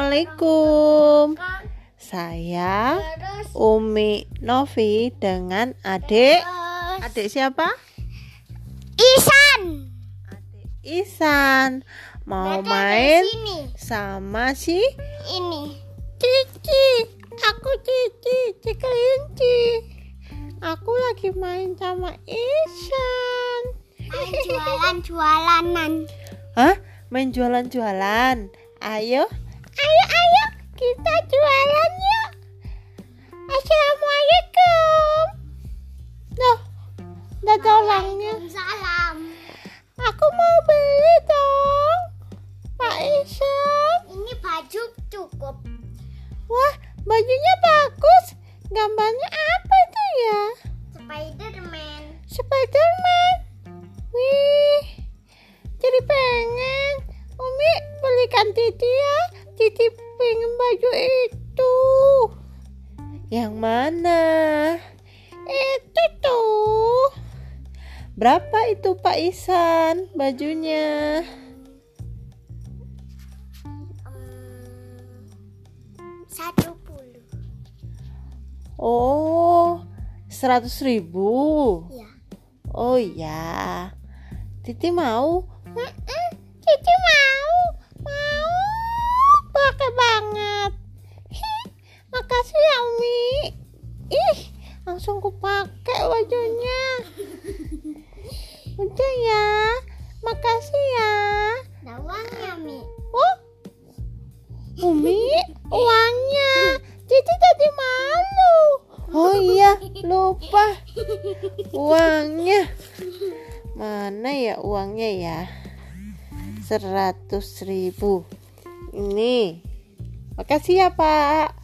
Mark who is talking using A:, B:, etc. A: Assalamualaikum Saya Oh, Umi Novi dengan adik Adik siapa?
B: Isan
A: Isan
B: main
A: Mau Oh, main
B: sini
A: sama si
B: ini
A: Cici Aku Cici, Cici kelinci Aku lagi main sama Isan
B: main jualan jualanan
A: Hah? Main jualan-jualan. Ayo. Ayo, ayo. Kita jualan yuk. Assalamualaikum. Loh, nggak ada orangnya.
B: salam
A: Aku mau beli dong. Pak Isan.
B: ini baju cukup
A: Wah, bajunya bagus. Gambarnya apa itu ya?
B: Spiderman
A: Spiderman. Wih, jadi pengen. Umi belikan Titi ya. Titi pengen baju itu. Yang mana? Itu tuh. Berapa itu Pak Isan bajunya?
B: Hmm, satu puluh
A: Oh, seratus ribu.
B: ya
A: Oh iya, Titi mau. Titi mau, mau pakai banget. Hih, makasih ya Umi. Ih, langsung kupakai bajunya. Udah ya, makasih ya.
B: ada uangnya mi
A: Oh, Umi, uangnya. Titi tadi malu. Oh iya, lupa uangnya. Mana ya uangnya ya? Seratus ribu. Ini. Makasih ya Pak.